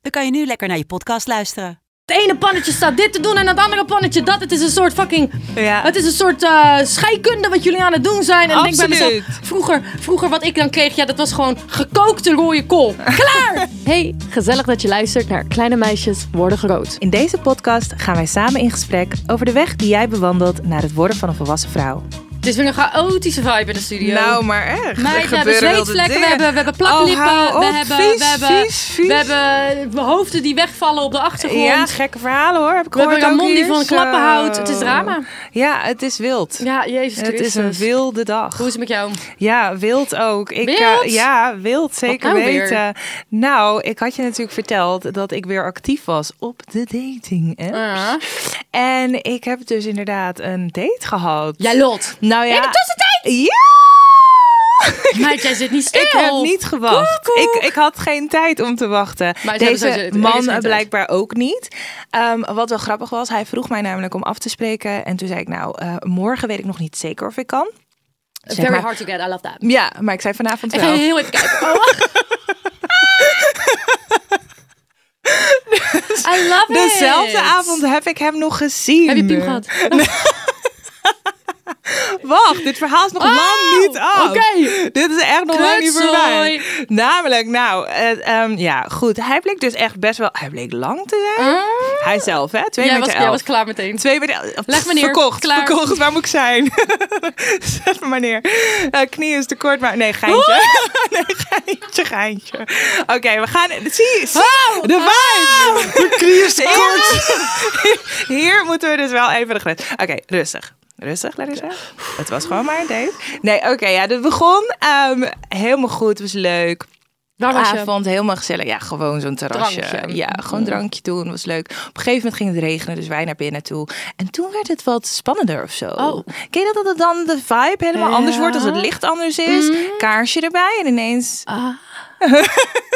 dan kan je nu lekker naar je podcast luisteren. Het ene pannetje staat dit te doen en het andere pannetje dat. Het is een soort fucking. Ja. Het is een soort eh, scheikunde wat jullie aan het doen zijn. En ik denk bij mezelf, Absoluut. vroeger, vroeger wat ik dan kreeg, ja, dat was gewoon gekookte rode kool. Klaar! hey, gezellig dat je luistert naar Kleine Meisjes Worden Groot. In deze podcast gaan wij samen in gesprek over de weg die jij bewandelt naar het worden van een volwassen vrouw. Het is weer een chaotische vibe in de studio. Nou, maar echt. Meid, we hebben zweetvlekken, we hebben, we hebben plaklippen, Oh, we, hebben, we, hebben, we hebben hoofden die wegvallen op de achtergrond. Ja, gekke verhalen hoor. Heb ik we hebben gehoord ook Ramon die hier, van zo. klappen houdt. Het is drama. Ja, het is wild. Ja, Jezus Het Christus. is een wilde dag. Hoe is het met jou? Ja, wild ook. Ik, Wild? eh, ja, wild zeker nou weer? weten. Nou, ik had je natuurlijk verteld dat ik weer actief was op de dating apps. Ja. En ik heb dus inderdaad een date gehad. Jij lot. Nou ja. In de tussentijd! Ja! Meid, jij zit niet stil. Ik heb niet gewacht. Ik, ik had geen tijd om te wachten. Maar ze hebben sowieso- Deze er is geen man tijd. blijkbaar ook niet. Ehm, wat wel grappig was, hij vroeg mij namelijk om af te spreken. En toen zei ik, nou, eh, morgen weet ik nog niet zeker of ik kan. Zeg Very maar- hard to get, I love that. Ja, maar ik zei vanavond Ik ga wel. heel even kijken. Oh. I love it. Dezelfde avond heb ik hem nog gezien. Heb je piem gehad? Wacht, dit verhaal is nog Oh, lang niet af. oké. Dit is echt nog lang niet Kutzooi. voorbij. Namelijk, nou, eh, ehm, ja, goed. Hij bleek dus echt best wel... Hij bleek lang te zijn. Ah. Hij zelf, hè? Twee Jij meter was, jij elf. was klaar meteen. Twee meter. oh, Leg me neer. Verkocht. Klaar. Verkocht. Waar moet ik zijn? Zet me maar neer. Eh, knie is te kort, maar nee, geintje. nee, geintje, geintje. Oké, we gaan. Zie, zie Oh! de vibe. De knie is te kort. Hier moeten we dus wel even de grens. Oké, rustig. Rustig, Larissa. Het was gewoon maar een date. Nee, oké, ja, dat begon ehm, helemaal goed. Het was leuk Waar was je? avond, helemaal gezellig. Ja, gewoon zo'n terrasje. Drankje. Mm. Ja, gewoon drankje doen, was leuk. Op een gegeven moment ging het regenen, dus wij naar binnen toe. En toen werd het wat spannender of zo. Oh. Ken je dat, dat dan de vibe helemaal anders wordt als het licht anders is? Mm. Kaarsje erbij en ineens... Ah.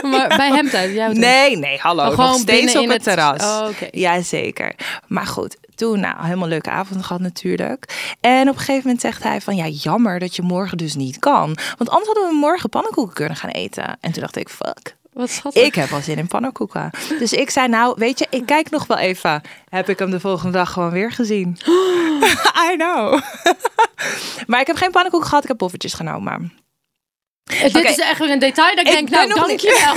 Maar bij hem thuis? Jij thuis? Nee, nee, hallo. Oh, gewoon nog steeds binnen op in het, het- terras. Oh, oké. Jazeker. Maar goed, toen, nou, helemaal een leuke avond gehad natuurlijk. En op een gegeven moment zegt hij van, ja, jammer dat je morgen dus niet kan. Want anders hadden we morgen pannenkoeken kunnen gaan eten. En toen dacht ik, fuck. Wat schattig. Ik heb al zin in pannenkoeken. Dus ik zei, nou, weet je, ik kijk nog wel even. Heb ik hem de volgende dag gewoon weer gezien? I know. maar ik heb geen pannenkoeken gehad, ik heb poffertjes genomen. Eh, Dit Oké. is echt weer een detail dat ik, Ik denk, ben nou nog niet- dankjewel.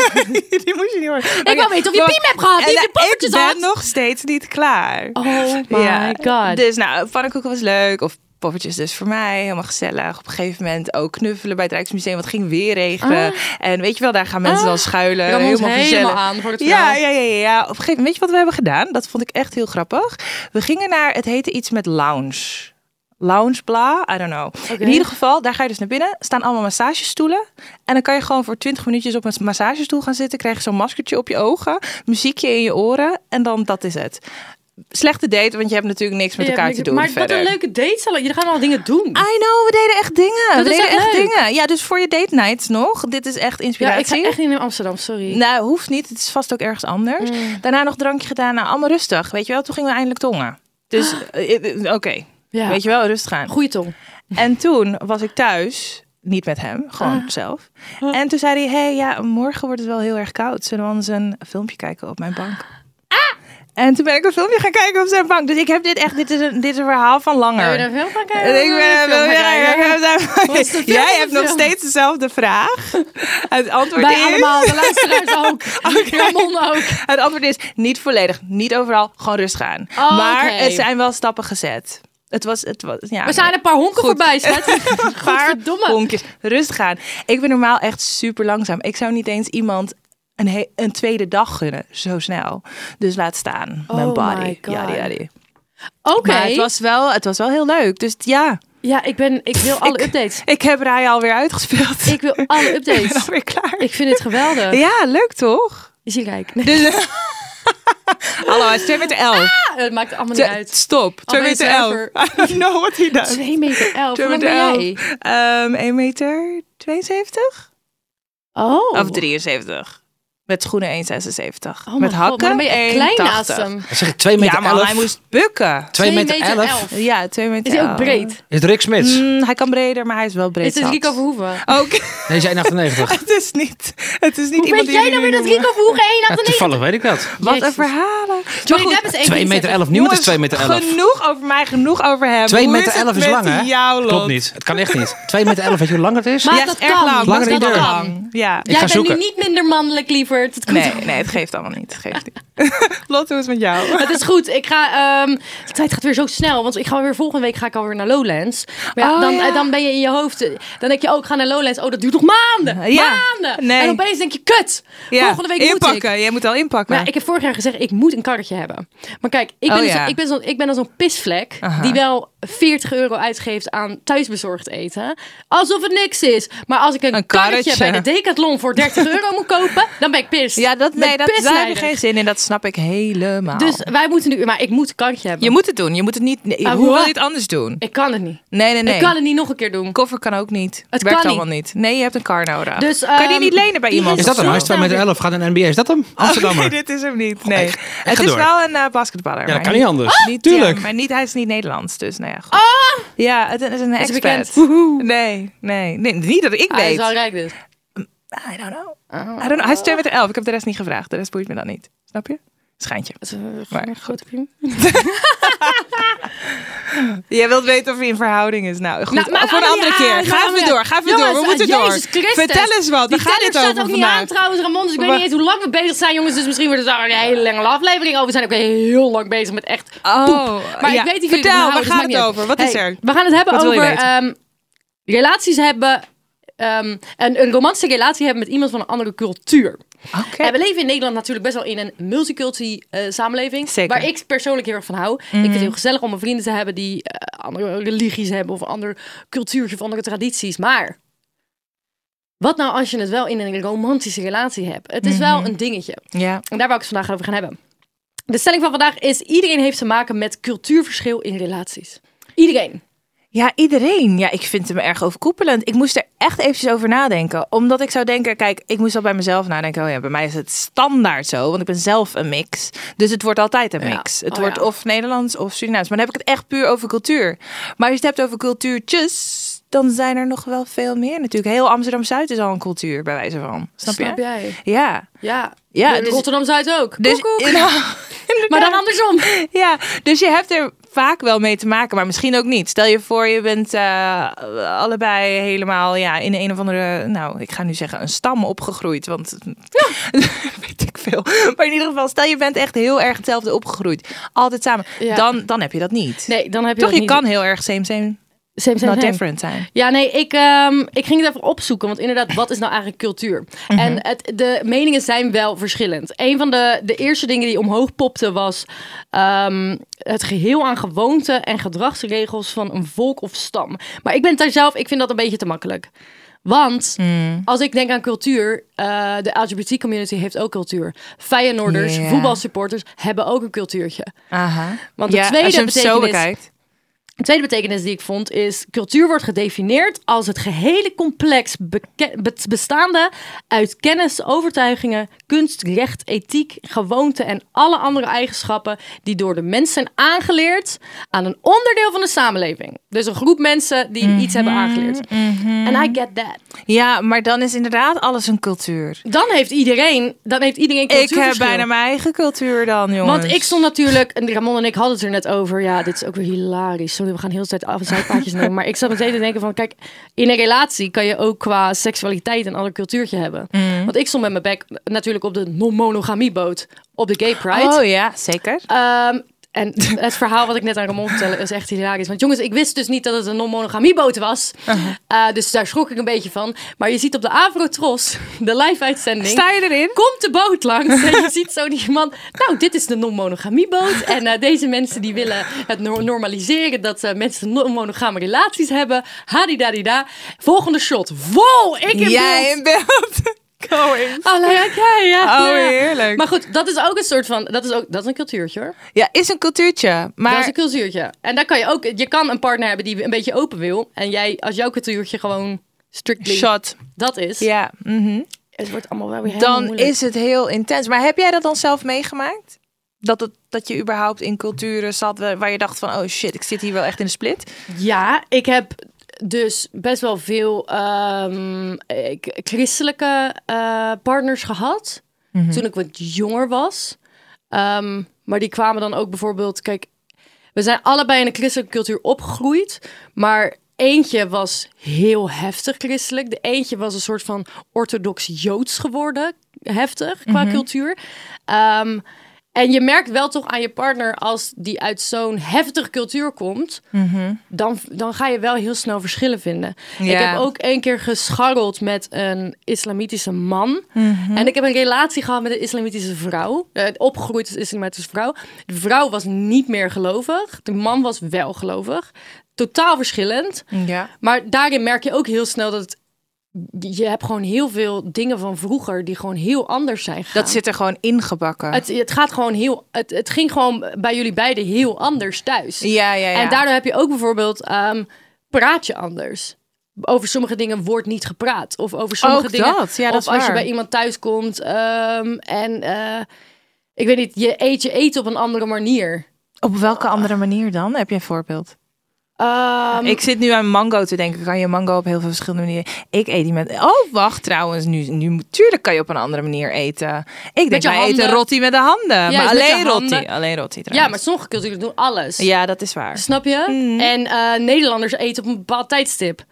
Die moest je niet horen. Ik wil weten of je piem hebt gehad, niet je poffertjes eh, Ik ben had. nog steeds niet klaar. Oh my god. Dus nou, pannenkoeken was leuk. Of poffertjes dus voor mij. Helemaal gezellig. Op een gegeven moment ook knuffelen bij het Rijksmuseum. Want het ging weer regenen. En weet je wel, daar gaan mensen dan schuilen. Ah. Ramon is eh, helemaal helemaal gezellig. aan voor het ja, verhaal. ja, ja, ja, ja. Op een gegeven moment, weet je wat we hebben gedaan? Dat vond ik echt heel grappig. We gingen naar, het heette iets met lounge. Lounge bla, I don't know. In ieder geval, daar ga je dus naar binnen. Staan allemaal massagestoelen. En dan kan je gewoon voor 20 minuutjes op een massagestoel gaan zitten. Krijg je zo'n maskertje op je ogen. Muziekje in je oren. En dan, dat is het. Slechte date, want je hebt natuurlijk niks met Je hebt elkaar niks- te doen Maar verder. Ah, wat een leuke date. zal- Jullie gaan allemaal dingen doen. I know, we deden echt dingen. Dat we is deden echt echt leuk. dingen. Ja, dus voor je date nights nog. Dit is echt Ja, ik inspiratie. ga echt niet naar Amsterdam, sorry. Nou, hoeft niet. Het is vast ook ergens anders. Mm. Daarna nog drankje gedaan. Nou, allemaal rustig. Weet je wel, toen gingen we eindelijk tongen. Dus eh, eh, oké. Ah. Ja. Weet je wel, rustig aan. Goeie tong. En toen was ik thuis. Niet met hem, gewoon Ah. zelf. En toen zei hij, hey, ja, morgen wordt het wel heel erg koud. Zullen we anders een filmpje kijken op mijn bank? Ah. En toen ben ik een filmpje gaan kijken op zijn bank. Dus ik heb dit echt, dit is een, dit is een verhaal van langer. Wil je er veel van kijken? En ik ben Wil je wel veel weer- van kijken? is de film? Jij hebt nog Film. steeds dezelfde vraag. Het antwoord Bij is... allemaal, de luisteraars ook. Ramon ook. Het antwoord is niet volledig, niet overal, gewoon rustig aan. Oh, maar oké. er zijn wel stappen gezet. Het was, het was, ja, We zijn een paar honken Goed. voorbij, schat. een paar godverdomme. honkjes. Rustig aan. Ik ben normaal echt super langzaam. Ik zou niet eens iemand een, he- een tweede dag gunnen, zo snel. Dus laat staan, mijn Oh body. my God. Yadi, yadi. Oké. Maar het was, wel, het was wel heel leuk. Dus ja, Ja, ik, ben, ik wil alle Ik- updates. ik heb Raya alweer uitgespeeld. Ik wil alle Ik ben updates. alweer klaar. Ik vind het geweldig. Ja, leuk toch? Is hij rijk? Nee, Dus, hallo, hij is 2 meter 11. het maakt allemaal niet Te- uit. Stop, 2 ben je meter 11. zuiver. I don't know what he does. 2 meter 11. Hoe 2 lang meter ben 11. jij? Ehm 1 meter 72? Oh. Of 73. Met schoenen 1,76. Oh mijn Met god, maar hakken dan ben je echt klein 1,80. naast hem. Dan zeg ik 2 meter Ja, maar 11. hij moest bukken. 2 Twee meter meter 11. elf. Ja, 2 meter Is hij ook 11. breed? Is het Rick Smits? Mm, hij kan breder, maar hij is wel breed. Is het zat. Rico Verhoeven? Ook. Nee, zij 98. het is niet. Het is niet Hoe iemand weet die jij jullie nou weer dat noemen. Rico Verhoeven Ja, 1,98? toevallig weet ik dat. Wat een Jezus. verhalen. Johnny Maar goed, Depp is 1,73. 2 meter 11. Niemand is 2 meter 11. Genoeg over mij, genoeg over hem. 2 Hoe meter het 11 is met lang, hè? Jou, Lot? Klopt niet. Het kan echt niet. 2 meter 11, weet je hoe lang het is? Maar Ja, Ah, dat dat erg kan. lang. Langer dat dan kan. lang. Ja. Ik Jij ga bent zoeken. nu niet minder mannelijk, lieverd. Het komt Nee, nee, het geeft allemaal niet. Het geeft niet. Lot, hoe is het met jou? Het is goed. Ik ga. ehm, de tijd gaat weer zo snel. Want ik ga weer volgende week ga ik alweer naar Lowlands. Maar ja, Oh, dan, ja. eh, dan ben je in je hoofd. eh, Dan denk je, oh, ik ga naar Lowlands. Oh, dat duurt nog maanden. Ja. Maanden. Nee. En opeens denk je, kut. Volgende week inpakken. moet ik. Jij moet al inpakken. Maar ja, ik heb vorig jaar gezegd, ik moet een karretje hebben. Maar kijk, ik ben, Oh, dus- ja. ik ben, zo, ik ben dan zo'n pisvlek Aha. die wel 40 euro uitgeeft aan thuisbezorgd eten. Alsof het niks is. Maar als ik een, Een karretje. bij karretje. de Decathlon voor 30 euro moet kopen, dan ben ik pist. ja, dat, Ben nee, dat, daar heb je pisnijdig. geen zin in. Dat snap ik helemaal. Dus wij moeten nu, maar ik moet een karretje hebben. je moet het doen. Je moet het niet. nee, Ah, hoe wil wat? je het anders doen? Ik kan het niet. Nee, nee, nee. Ik kan het niet nog een keer doen. Koffer kan ook niet. Het werkt kan allemaal niet. Nee, je hebt een car nodig. Dus, kan je die ehm, niet lenen bij die iemand? Is dat hem? Hij is 2 meter 11, gaat een NBA. Is dat hem? Amsterdammer. Oh, Nee, dit is hem niet. Nee. ik ga het is door. wel een eh, basketballer. Ja, dat maar kan niet anders. Niet, Tuurlijk. ja, maar niet, hij is niet Nederlands, dus nou ja. goed. Ja, het is een hij expat. Ah! bekend? Ah, Nee, nee, nee, niet dat ik Hij is weet. wel rijk dus. I don't know. Oh. I don't know. Hij is 2 meter 11. Ik heb de rest niet gevraagd. De rest boeit me dan niet. Snap je? Schijntje. Dat is een Maar grote priem. Jij wilt weten of hij in verhouding is. Nou, goed. Nou, maakt voor een allemaal andere niet keer. uit. Ga Maakt even allemaal door. Ga even niet uit. door. We Jongens, ah, moeten door. Jezus Christus. Vertel eens wat. Die Daar gaat teller het staat over ook niet vandaag. aan trouwens, Ramon. Dus ik weet Wa- niet eens hoe lang we bezig zijn, jongens. Dus misschien wordt het daar een hele lange aflevering over. We zijn ook heel lang bezig met echt Oh, Maar ja. ik weet dus niet Vertel, waar we gaat het over? Wat is er? We gaan het hebben Wat wil je over weten? ehm, relaties hebben. ehm, een, een romantische relatie hebben met iemand van een andere cultuur. Oké. En Eh, we leven in Nederland natuurlijk best wel in een multiculturele samenleving. Zeker. Mhm. Waar ik persoonlijk heel erg van hou. Ik vind het heel gezellig om mijn vrienden te hebben die eh, andere religies hebben. Of andere cultuurtje of andere tradities. Maar wat nou als je het wel in een romantische relatie hebt? Het is Mhm. wel een dingetje. Ja. En daar wou ik het vandaag over gaan hebben. De stelling van vandaag is: iedereen heeft te maken met cultuurverschil in relaties. Iedereen. Ja, iedereen. Ja, ik vind hem erg overkoepelend. Ik moest er echt eventjes over nadenken. Omdat ik zou denken, kijk, ik moest al bij mezelf nadenken. Oh ja, bij mij is het standaard zo, want ik ben zelf een mix. Dus het wordt altijd een Ja. mix. Het Oh wordt ja. of Nederlands of Surinaams. Maar dan heb ik het echt puur over cultuur. Maar als je het hebt over cultuurtjes, dan zijn er nog wel veel meer natuurlijk. Heel Amsterdam-Zuid is al een cultuur, bij wijze van. Snap, je? jij? Ja. Ja. Ja, De- dus- Rotterdam Zuid ook. Dus, Koekoek. Nou, Maar dan inderdaad. andersom. Ja, dus je hebt er vaak wel mee te maken, maar misschien ook niet. Stel je voor, je bent eh, allebei helemaal ja, in een of andere, nou, ik ga nu zeggen, een stam opgegroeid. Want weet ik veel. Maar in ieder geval, stel je bent echt heel erg hetzelfde opgegroeid. Altijd samen. Ja. Dan, dan heb je dat niet. Nee, dan heb je Toch, dat je niet. kan Nou, heel erg same, same, Same, same, not same. different zijn. Ja, nee, ik, ehm, ik ging het even opzoeken. Want inderdaad, wat is nou eigenlijk cultuur? Mhm. En het, de meningen zijn wel verschillend. Een van de, de eerste dingen die omhoog popte was ehm, het geheel aan gewoonten en gedragsregels van een volk of stam. Maar ik ben het daar zelf, ik vind dat een beetje te makkelijk. Want Mhm. als ik denk aan cultuur, eh, de LGBT-community heeft ook cultuur. Feyenoorders, Ja. voetbalsupporters hebben ook een cultuurtje. Aha. Want de ja, tweede als je hem zo betekenis- bekijkt. Een tweede betekenis die ik vond is: cultuur wordt gedefinieerd als het gehele complex beke- be- bestaande uit kennis, overtuigingen, kunst, recht, ethiek, gewoonten en alle andere eigenschappen die door de mens zijn aangeleerd aan een onderdeel van de samenleving. Dus een groep mensen die iets hebben Mhm, aangeleerd. En I get that. Ja, maar dan is inderdaad alles een cultuur. Dan heeft iedereen, dan heeft iedereen Ik cultuurverschil. heb bijna mijn eigen cultuur dan, jongens. Want ik stond natuurlijk, en Ramon en ik hadden het er net over. Ja, dit is ook weer hilarisch. Sorry, we gaan heel de tijd af en zijpaadjes nemen. Maar ik zat meteen te denken van, kijk, in een relatie kan je ook qua seksualiteit een ander cultuurtje hebben. Mm. Want ik stond met mijn bek natuurlijk op de non-monogamieboot op de Gay Pride. Oh ja, zeker. Ehm, en het verhaal wat ik net aan Ramon vertelde is echt hilarisch. Want jongens, ik wist dus niet dat het een non-monogamieboot was. Uh-huh. Eh, dus daar schrok ik een beetje van. Maar je ziet op de Avrotros, de live-uitzending... Sta je erin? Komt de boot langs en je ziet zo die man. Nou, dit is de non-monogamieboot. En eh, deze mensen die willen het no- normaliseren dat eh, mensen non-monogame relaties hebben. Hadidadida. Volgende shot. Wow, ik in Jij beeld. in beeld. going. Oh, leuk. Ja, ja. Oh, ja. heerlijk. Maar goed, dat is ook een soort van... Dat is ook dat is een cultuurtje, hoor. Ja, is een cultuurtje. Dat is Maar een cultuurtje. En daar kan je ook... Je kan een partner hebben die een beetje open wil. En jij, als jouw cultuurtje gewoon strictly shot. dat is... Ja, mhm. Het wordt allemaal wel weer helemaal dan moeilijk. is het heel intens. Maar heb jij dat dan zelf meegemaakt? Dat, het, dat je überhaupt in culturen zat wa- waar je dacht van... oh shit, ik zit hier wel echt in de split. Ja, ik heb dus best wel veel ehm, ik- christelijke eh, partners gehad. Toen ik wat jonger was. Ehm, maar die kwamen dan ook bijvoorbeeld... Kijk, we zijn allebei in een christelijke cultuur opgegroeid. Maar eentje was heel heftig christelijk. De eentje was een soort van orthodox joods geworden. Heftig qua cultuur. Ehm, en je merkt wel toch aan je partner als die uit zo'n heftige cultuur komt, dan, dan ga je wel heel snel verschillen vinden. Ik Ja. heb ook één keer gescharreld met een islamitische man. Mhm. En ik heb een relatie gehad met een islamitische vrouw. Eh, opgegroeid als islamitische vrouw. De vrouw was niet meer gelovig. De man was wel gelovig. Totaal verschillend. Ja. Maar daarin merk je ook heel snel dat het- je hebt gewoon heel veel dingen van vroeger die gewoon heel anders zijn gegaan. Dat zit er gewoon ingebakken. Het, het gaat gewoon heel. Het, het ging gewoon bij jullie beiden heel anders thuis. ja, ja, ja. En daardoor heb je ook bijvoorbeeld ehm, praat je anders. Over sommige dingen wordt niet gepraat. Of over sommige Ook dingen. dat. Ja, dat of is als je waar. bij iemand thuis komt en eh, ik weet niet, je eet je eten op een andere manier. Op welke andere manier dan? Heb je een voorbeeld? Ehm, ik zit nu aan mango te denken. Kan je mango op heel veel verschillende manieren? Ik eet die met... Oh, wacht trouwens. Nu, nu, moet- tuurlijk kan je op een andere manier eten. Ik denk, je wij eten handen. rotti met de handen. Ja, maar is met je alleen rotti. handen. Alleen rotti ja, trouwens. maar sommige culturen doen alles. Ja, Mhm. dat is waar. Snap je? En eh, Nederlanders eten op een bepaald tijdstip.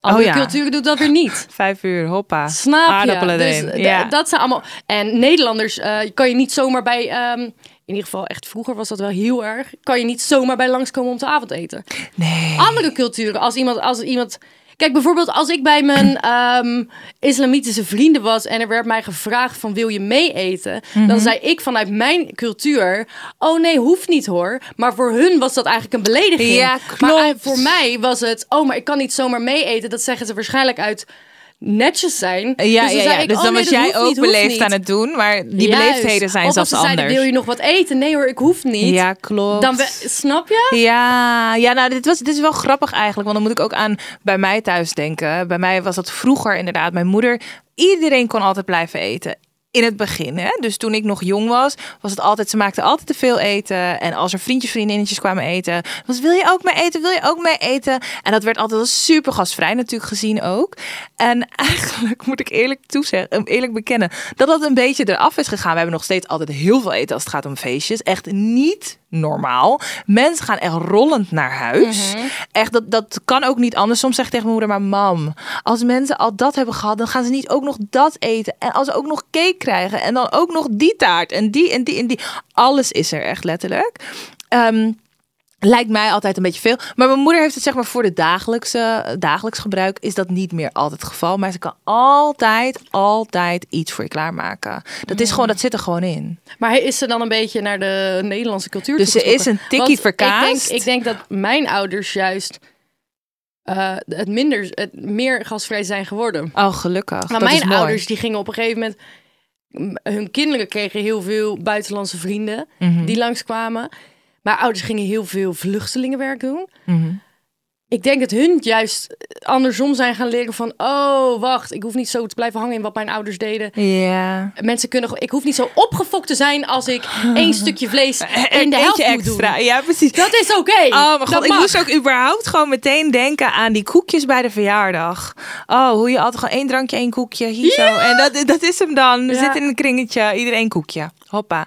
Andere Oh ja. culturen doen dat weer niet. Vijf uur, hoppa. Snap je? Aardappelen Dus erin. d- ja. dat zijn allemaal. En Nederlanders eh, kan je niet zomaar bij. ehm, in ieder geval, echt vroeger was dat wel heel erg. Kan je niet zomaar bij langskomen om te avondeten. Nee. Andere culturen, als iemand. Als iemand Kijk, bijvoorbeeld als ik bij mijn ehm, islamitische vrienden was en er werd mij gevraagd van wil je mee eten? Mhm. Dan zei ik vanuit mijn cultuur, oh nee, hoeft niet hoor. Maar voor hun was dat eigenlijk een belediging. Ja, Maar eh, klopt. voor mij was het, oh maar ik kan niet zomaar mee eten. Dat zeggen ze waarschijnlijk uit netjes zijn. Ja, dus ja, zei ja. ik, dus oh dan nee, was dat jij hoeft ook niet, hoeft beleefd niet. aan het doen, maar die Juist. beleefdheden zijn of zelfs als ze anders. Zeiden, wil je nog wat eten? Nee hoor, ik hoef niet. Ja, klopt. Dan we- snap je? Ja, ja, nou, dit, was, dit is wel grappig eigenlijk. Want dan moet ik ook aan bij mij thuis denken. Bij mij was dat vroeger inderdaad. Mijn moeder, iedereen kon altijd blijven eten. In het begin, hè? dus toen ik nog jong was, was het altijd, ze maakte altijd te veel eten. En als er vriendjes, vriendinnetjes kwamen eten, was wil je ook mee eten, wil je ook mee eten? En dat werd altijd als super gastvrij natuurlijk gezien ook. En eigenlijk moet ik eerlijk toezeggen, eerlijk bekennen, dat dat een beetje eraf is gegaan. We hebben nog steeds altijd heel veel eten als het gaat om feestjes. Echt niet normaal. Mensen gaan echt rollend naar huis. Echt, dat, dat kan ook niet anders. Soms zeg ik tegen mijn moeder, maar mam, als mensen al dat hebben gehad, dan gaan ze niet ook nog dat eten. En als ze ook nog cake krijgen en dan ook nog die taart en die en die en die. Alles is er echt letterlijk. Ehm, Lijkt mij altijd een beetje veel. Maar mijn moeder heeft het zeg maar voor de dagelijkse, dagelijks gebruik is dat niet meer altijd het geval. Maar ze kan altijd, altijd iets voor je klaarmaken. Dat is gewoon, dat zit er gewoon in. Maar hij is ze dan een beetje naar de Nederlandse cultuur Dus ze toegetrokken? is een tikkie Want ik denk- verkaasd. Ik denk, dat mijn ouders juist eh, het, minder, het meer gasvrij zijn geworden. Oh, gelukkig. Maar dat is mijn mooi. ouders die gingen op een gegeven moment... m- Hun kinderen kregen heel veel buitenlandse vrienden Mhm. die langskwamen. Mijn ouders gingen heel veel vluchtelingenwerk doen. Mhm. Ik denk dat hun juist andersom zijn gaan leren van... oh, wacht, ik hoef niet zo te blijven hangen in wat mijn ouders deden. Ja. Mensen kunnen... gewoon- Ik hoef niet zo opgefokt te zijn als ik één stukje vlees in de Eentje helft moet extra. doen. Ja, precies. Dat is oké. Oh mijn god, Dat ik mag. moest ook überhaupt gewoon meteen denken aan die koekjes bij de verjaardag. Oh, hoe je altijd gewoon één drankje, één koekje, hier zo. En dat, dat is hem dan. We Ja. zitten in een kringetje, iedereen koekje. Hoppa.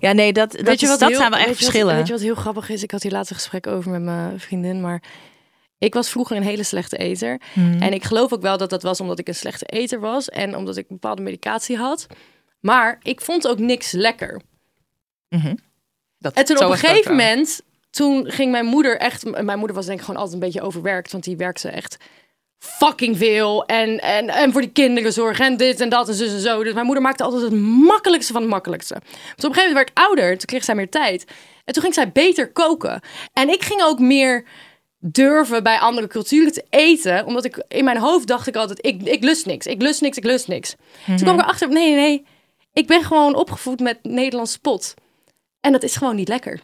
Ja, nee, dat, dat, Weet je is- wat dat heel- zijn wel echt weet je wat- verschillen. weet je wat heel grappig is? Ik had hier laatst een gesprek over met mijn vriendin, maar Ik was vroeger een hele slechte eter. Hmm. En ik geloof ook wel dat dat was omdat ik een slechte eter was. En omdat ik bepaalde medicatie had. Maar ik vond ook niks lekker. Dat, En toen zo op een is dat gegeven wel. moment, toen ging mijn moeder echt... m- Mijn moeder was denk ik gewoon altijd een beetje overwerkt, want die werkte echt fucking veel. En, en, en voor die kinderen zorgen en dit en dat en zus en zo. Dus mijn moeder maakte altijd het makkelijkste van het makkelijkste. Toen op een gegeven moment werd ik ouder, toen kreeg zij meer tijd. En toen ging zij beter koken. En ik ging ook meer durven bij andere culturen te eten. Omdat ik in mijn hoofd dacht ik altijd, ik, ik lust niks, ik lust niks, ik lust niks. Toen Mhm. kwam ik erachter, nee, nee, nee. Ik ben gewoon opgevoed met Nederlands pot. En dat is gewoon niet lekker.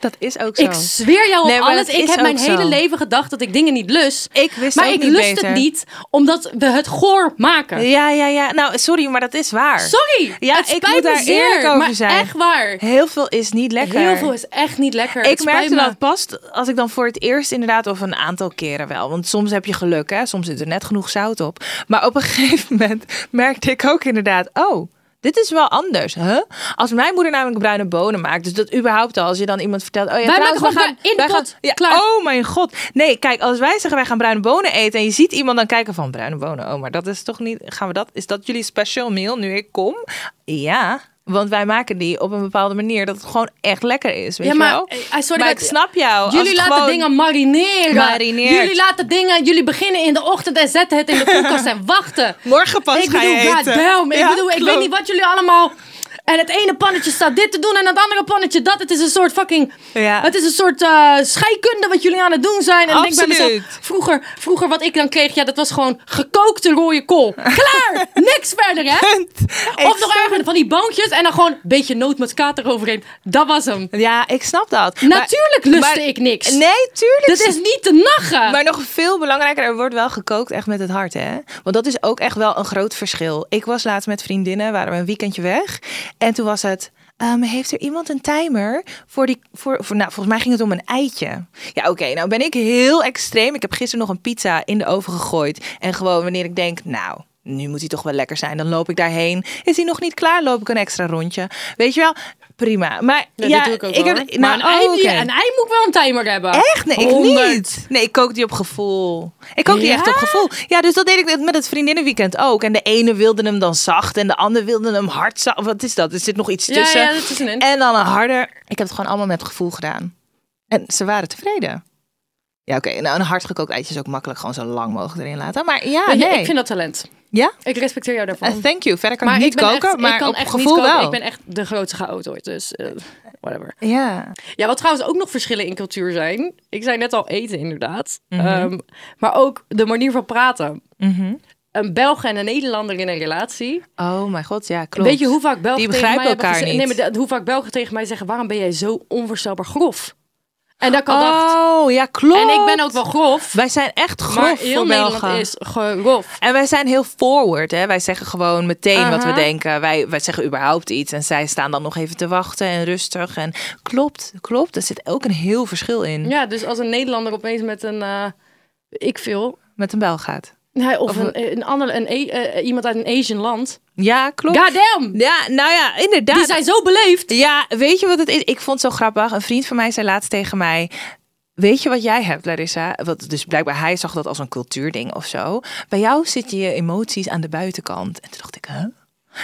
Dat is ook zo. Ik zweer jou op Nee, maar alles. dat Ik is heb mijn ook zo. hele leven gedacht dat ik dingen niet lust. Ik wist maar ook ik niet lust beter. het niet omdat we het goor maken. Ja, ja, ja. Nou, sorry, maar dat is waar. Sorry. Ja, het ik spijt moet me daar zeer, eerlijk over maar zijn. Echt waar. Heel veel is niet lekker. Heel veel is echt niet lekker. Het Ik spijt merkte me. dat pas als ik dan voor het eerst inderdaad, of een aantal keren wel. Want soms heb je geluk, hè? soms zit er net genoeg zout op. Maar op een gegeven moment merkte ik ook inderdaad, oh, dit is wel anders. Huh? Als mijn moeder namelijk bruine bonen maakt, dus dat überhaupt al, als je dan iemand vertelt, oh ja, Wij trouwens, maken we gewoon gaan, in de wij gaan- pot. ja, Klaar. Oh mijn god. Nee, kijk, als wij zeggen wij gaan bruine bonen eten en je ziet iemand dan kijken van bruine bonen, oh, maar dat is toch niet, gaan we dat, is dat jullie special meal nu ik kom? Ja. Want wij maken die op een bepaalde manier dat het gewoon echt lekker is. Weet Ja, je maar, wel? eh, sorry, maar maar ik snap jou. Als Jullie het laten gewoon- dingen marineren. Marineert. Jullie laten dingen, jullie beginnen in de ochtend en zetten het in de koelkast en wachten. Morgen pas ik ga bedoel, je eten. goddamn, Ik Ja, bedoel, ik klopt. weet niet wat jullie allemaal... En het ene pannetje staat dit te doen en het andere pannetje dat. Het is een soort fucking... Ja. Het is een soort eh, scheikunde wat jullie aan het doen zijn. En ik denk bij mezelf, Absoluut. vroeger, vroeger wat ik dan kreeg, ja, dat was gewoon gekookte rode kool. Klaar! Niks verder, hè? Ik Of nog snap erger, van die boontjes en dan gewoon een beetje nootmuskaat eroverheen. Dat was hem. Ja, ik snap dat. Natuurlijk lustte ik niks. Dus Nee, tuurlijk. Dat is niet te nachen. Maar nog veel belangrijker, er wordt wel gekookt echt met het hart, hè? Want dat is ook echt wel een groot verschil. Ik was laatst met vriendinnen, waren we een weekendje weg. En toen was het, ehm, heeft er iemand een timer voor die... Voor, voor, nou, volgens mij ging het om een eitje. Ja, oké, nou ben ik heel extreem. Ik heb gisteren nog een pizza in de oven gegooid. En gewoon wanneer ik denk, nou... Nu moet hij toch wel lekker zijn. Dan loop ik daarheen. Is hij nog niet klaar? Loop ik een extra rondje. Weet je wel? Prima. Maar Nee, ja, dat doe ik ook wel, heb- hoor. maar een, nou, ei, oké. een ei moet wel een timer hebben. Echt? Nee, ik 100. niet. Nee, ik kook die op gevoel. Ik kook die Ja? echt op gevoel. Ja, dus dat deed ik met het vriendinnenweekend ook. En de ene wilde hem dan zacht en de ander wilde hem hard zacht. Wat is dat? Er zit nog iets Ja, tussen. ja, dat is een- En dan een harder. Ik heb het gewoon allemaal met gevoel gedaan. En ze waren tevreden. Ja, oké. Nou, een hard gekookt eitje is ook makkelijk. Gewoon zo lang mogelijk erin laten. Maar ja, Weet je, Ah, nee. Ik vind dat talent. Ja? Ik respecteer jou daarvan. Eh, thank you. Verder kan ik niet ben koken, echt- maar ik kan op echt gevoel niet koken. wel. Ik ben echt de grootste chaot ooit, dus eh, whatever. Ja. Ja, wat trouwens ook nog verschillen in cultuur zijn. Ik zei net al eten inderdaad. Mhm. Ehm, maar ook de manier van praten. Een Belg en een Nederlander in een relatie. Oh mijn god, ja, klopt. Weet je hoe vaak Belgen Die tegen mij begrijpen hebben elkaar gezegd- niet. Nee, maar de- hoe vaak Belgen tegen mij zeggen... waarom ben jij zo onvoorstelbaar grof? En dat ik al dacht... Oh, ja, klopt. En ik ben ook wel grof. Wij zijn echt grof maar voor heel Nederland Belgen. is grof. En wij zijn heel forward, hè? Wij zeggen gewoon meteen wat we Aha. denken. Wij, wij zeggen überhaupt iets. En zij staan dan nog even te wachten en rustig. En klopt, klopt. Er zit ook een heel verschil in Ja, dus als een Nederlander opeens met een... eh, ik veel... met een Belgaat. Nee, of, een, een ander, een, A- eh, iemand uit een Asian land. Ja, klopt. Goddamn! Ja, nou ja, inderdaad. Die zijn zo beleefd. Ja, weet je wat het is? Ik vond het zo grappig. Een vriend van mij zei laatst tegen mij... Weet je wat jij hebt, Larissa? Wat, dus blijkbaar hij zag dat als een cultuurding of zo. Bij jou zitten je emoties aan de buitenkant. En toen dacht ik, huh?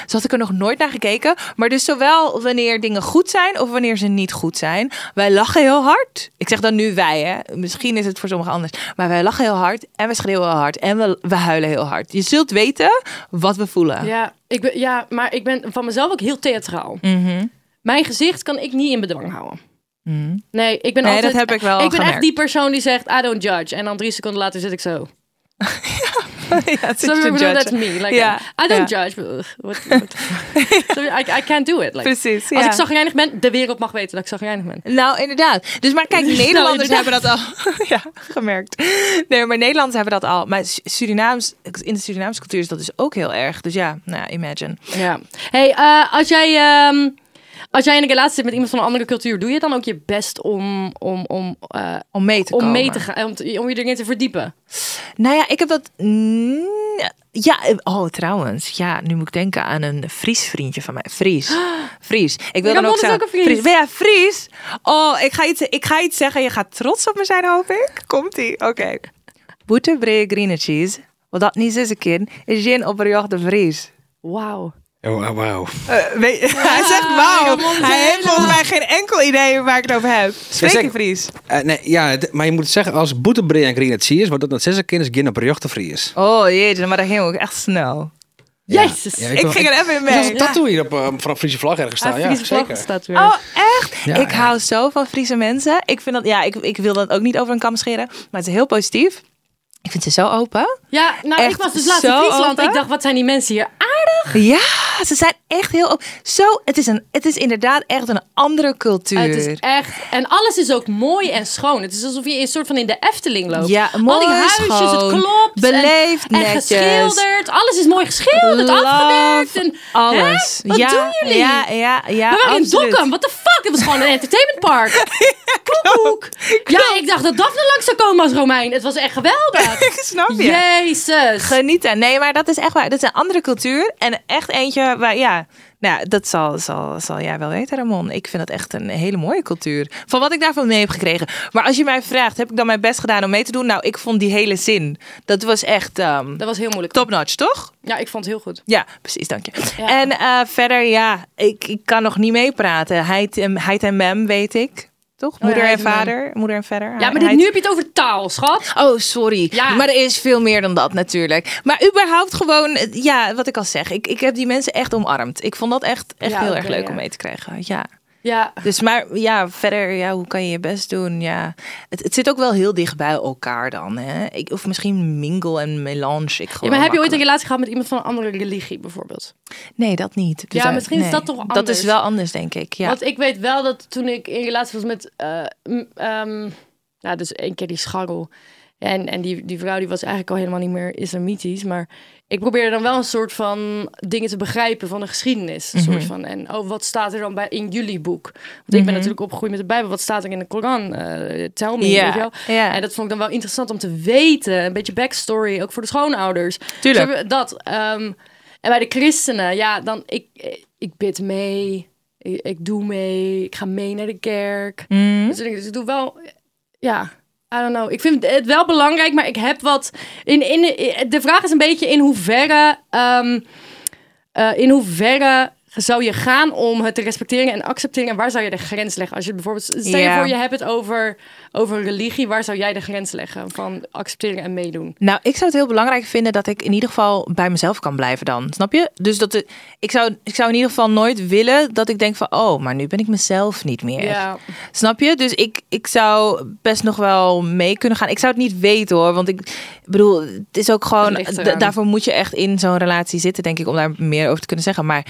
Zo had ik er nog nooit naar gekeken. Maar dus zowel wanneer dingen goed zijn of wanneer ze niet goed zijn. Wij lachen heel hard. Ik zeg dan nu wij, hè. Misschien is het voor sommigen anders. Maar wij lachen heel hard en we schreeuwen heel hard. En we, we huilen heel hard. Je zult weten wat we voelen. Ja, ik ben, ja, maar ik ben van mezelf ook heel theatraal. Mhm. Mijn gezicht kan ik niet in bedwang houden. Nee, ik ben Nee, altijd... dat heb ik wel Ik ben echt gemerkt. die persoon die zegt, I don't judge. En dan drie seconden later zit ik zo. Ja, het is Some te people judgen. do that to me. Like, Ja, I don't ja. judge. Ugh, What, what? So, I, I can't do it. Like, Precies, Als ja. ik zagrijnig ben, de wereld mag weten dat ik zagrijnig ben. Nou, inderdaad. Dus maar kijk, Nederlanders inderdaad. hebben dat al ja, gemerkt. Nee, maar Nederlanders hebben dat al. Maar Su- Surinaams, in de Surinaamse cultuur is dat dus ook heel erg. Dus ja, nou, ja, imagine. Ja. Hey, eh, als jij ehm, Als jij in een relatie zit met iemand van een andere cultuur, doe je dan ook je best om, om, om, eh, Om mee te om komen. mee te gaan, eh, om, te- om je erin te verdiepen? Nou ja, ik heb dat. mm, Ja, eh, oh trouwens. Ja, nu moet ik denken aan een Fries vriendje van mij. Fries. Fries. Ik wil Mijn dan ook mond is zeggen. ook een Fries. Ben jij Fries? Oh, ik ga, iets, ik ga iets zeggen. Je gaat trots op me zijn, hoop ik. Komt-ie. Oké. Boete brede green cheese. Wat dat niet is, kind, is geen opperjochte Fries. Wauw. Oh, wauw. Eh, weet- hij zegt wauw. Hij heeft volgens mij geen enkel idee waar ik het over heb. Spreek je zeker. Fries? Eh, nee, ja, d- maar je moet het zeggen als boetebree en green het zie is, maar dat dat zes kind is, geen op rejochte vrij is. Oh jeetje, maar dat ging ook echt snel. Jezus. Ja, Ik, wil- ging er even in Er is mee. een tattoo hier op, eh, van een Friese vlag ergens staan. Ja, Friese vlag zeker. staat weer. Oh, echt? Ja, ik ja. hou zo van Friese mensen. Ik vind dat, ja, ik, ik wil dat ook niet over een kam scheren, maar het is heel positief. Ik vind ze zo open. ja, nou, ik echt was dus laatst in zo Friesland. open. Ik dacht, wat zijn die mensen hier aardig? Ja, ze zijn echt heel open. Zo, het is, een, het is inderdaad echt een andere cultuur. Het is echt... En alles is ook mooi en schoon. Het is alsof je een soort van in de Efteling loopt. Ja, Al mooi, die huisjes, schoon, het klopt. en- beleefd, en, netjes. geschilderd. Alles is mooi geschilderd, Love afgewerkt. En, alles. Hè? Wat ja, doen jullie? Ja, ja, ja. We waren in absoluut. Dokkum, what the fuck? Het was gewoon een entertainmentpark. Koekoek. Ja, ik dacht dat Daphne langs zou komen als Romein. Het was echt geweldig. Ik snap je. Jezus. Genieten. Nee, maar dat is echt waar. Dat is een andere cultuur. En echt eentje waar, ja, nou, ja, dat zal, zal, zal jij wel weten, Ramon. Ik vind dat echt een hele mooie cultuur. Van wat ik daarvan mee heb gekregen. Maar als je mij vraagt, heb ik dan mijn best gedaan om mee te doen? Nou, ik vond die hele zin. Dat was echt ehm dat was heel moeilijk. top-notch, toch? Ja, ik vond het heel goed. Ja, precies, dank je. Ja. En eh, verder, ja, ik, ik kan nog niet meepraten. Heid en- heid en mem, weet ik. Toch? Moeder Oh heid en en mem. vader. Moeder en verder. Ja, maar dit, nu heb je het over taal, schat. Oh, sorry. Ja. Maar er is veel meer dan dat natuurlijk. Maar überhaupt gewoon, eh, ja, wat ik al zeg. Ik, ik heb die mensen echt omarmd. Ik vond dat echt, echt Ja, heel oké, erg leuk ja. om mee te krijgen. Ja. Ja. Dus maar ja, verder, ja, hoe kan je je best doen? Ja. Het, het zit ook wel heel dicht bij elkaar dan. Hè? Ik, of misschien mingle en melange. Ik Ja, geloof maar heb je ooit een makkelijk. relatie gehad met iemand van een andere religie, bijvoorbeeld? Nee, dat niet. Dus Ja, daar- misschien is nee. dat toch Dat anders. is wel anders, denk ik. Ja. Want ik weet wel dat toen ik in relatie was met, eh, m- ehm, nou, dus één keer die scharrel. En, en die, die vrouw die was eigenlijk al helemaal niet meer islamitisch. Maar ik probeerde dan wel een soort van dingen te begrijpen van de geschiedenis. Een Mhm. soort van, en oh, wat staat er dan bij in jullie boek? Want ik ben natuurlijk opgegroeid met de Bijbel. Wat staat er in de Koran? Eh tell me, Ja, weet je wel? ja. En dat vond ik dan wel interessant om te weten. Een beetje backstory, ook voor de schoonouders. Tuurlijk. Zo, dat. ehm, en bij de christenen, ja, dan ik, ik bid mee. Ik, ik doe mee. Ik ga mee naar de kerk. Dus, ik- dus ik doe wel, ja, I don't know. Ik vind het wel belangrijk, maar ik heb wat. In, in, in- de vraag is een beetje in hoeverre. ehm, eh, in hoeverre zou je gaan om het te respecteren en accepteren? En waar zou je de grens leggen? Als je bijvoorbeeld, stel je Ja. voor, je hebt het over, over religie. Waar zou jij de grens leggen van accepteren en meedoen? Nou, ik zou het heel belangrijk vinden dat ik in ieder geval bij mezelf kan blijven dan. Snap je? Dus dat de- ik, zou, ik zou in ieder geval nooit willen dat ik denk van... oh, maar nu ben ik mezelf niet meer. Ja. Snap je? Dus ik, ik zou best nog wel mee kunnen gaan. Ik zou het niet weten hoor. Want ik bedoel, het is ook gewoon... Het ligt da- eraan. Oh, nou, daarvoor moet je echt in zo'n relatie zitten, denk ik... om daar meer over te kunnen zeggen. Maar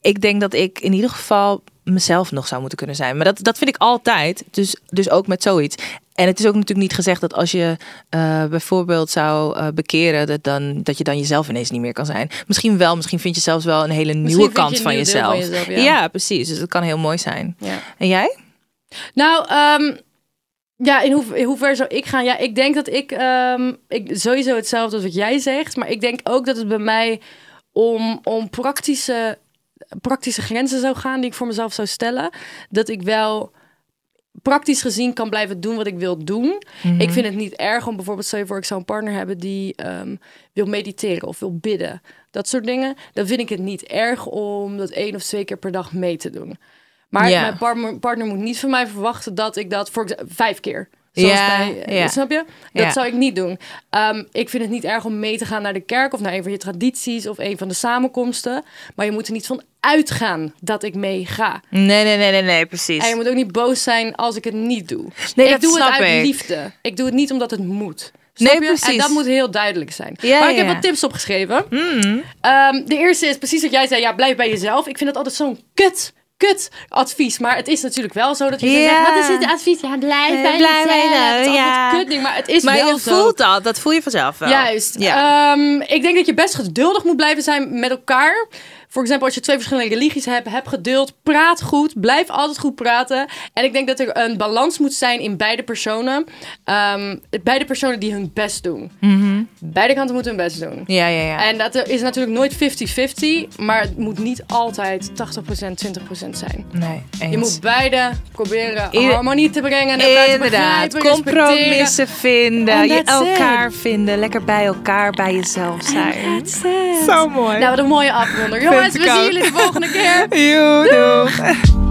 ik denk dat ik in ieder geval mezelf nog zou moeten kunnen zijn. Maar dat, dat vind ik altijd. Dus, dus ook met zoiets. En het is ook natuurlijk niet gezegd dat als je eh, bijvoorbeeld zou eh, bekeren... Dat, dan, dat je dan jezelf ineens niet meer kan zijn. Misschien wel. Misschien vind je zelfs wel een hele nieuwe vind je kant een van, nieuw deel jezelf. van jezelf, ja. ja. precies. Dus dat kan heel mooi zijn. Ja. En jij? Nou, ehm, ja, in, hoe, in hoever zou ik gaan? Ja, ik denk dat ik, ehm, ik sowieso hetzelfde als wat jij zegt. Maar ik denk ook dat het bij mij om, om praktische, praktische grenzen zou gaan die ik voor mezelf zou stellen. Dat ik wel praktisch gezien kan blijven doen wat ik wil doen. Mhm. Ik vind het niet erg om bijvoorbeeld, stel je voor, ik zou een partner hebben die ehm, wil mediteren of wil bidden. Dat soort dingen. Dan vind ik het niet erg om dat één of twee keer per dag mee te doen. Maar Ja. mijn partner, partner moet niet van mij verwachten dat ik dat voor exa- vijf keer. Zoals Ja, bij, ja. Snap je? Dat Ja. zou ik niet doen. Ehm, ik vind het niet erg om mee te gaan naar de kerk of naar een van je tradities of een van de samenkomsten. Maar je moet er niet van uitgaan dat ik mee ga. Nee, nee, nee, nee, nee, precies. En je moet ook niet boos zijn als ik het niet doe. Nee, ik dat doe snap het uit ik. liefde. Ik doe het niet omdat het moet. Snap Nee, je? En precies. dat moet heel duidelijk zijn. Ja, maar ik heb ja, ja. Hmm. wat tips opgeschreven. Ehm, de eerste is precies wat jij zei. Ja, blijf bij jezelf. Ik vind dat altijd zo'n kut, kut advies. Maar het is natuurlijk wel zo dat je Ja. Eh, zegt... Wat is dit advies? Ja, blijf bij blijf bij jezelf. jezelf, Het is altijd ja. kut ding, maar het is Maar wel je zo. voelt dat, dat voel je vanzelf wel. Juist. Eh, Ja. Ehm, ik denk dat je best geduldig moet blijven zijn met elkaar. voor example, als je twee verschillende religies hebt, heb geduld, praat goed, blijf altijd goed praten. En ik denk dat er een balans moet zijn in beide personen. Ehm, beide personen die hun best doen. Beide kanten moeten hun best doen. Ja, ja, Mhm. ja. En dat is natuurlijk nooit 50-50, maar het moet niet altijd 80%, 20% zijn. nee, eens. Je moet beide proberen Ieder- harmonie te brengen. En elkaar te Inderdaad, begrijpen, respecteren. compromissen vinden, And je that's elkaar vinden, lekker bij elkaar, bij jezelf zijn. Zo mooi. Nou, wat een mooie afronder. Jongens, we ik ook. zien jullie de volgende keer. Joe, doeg.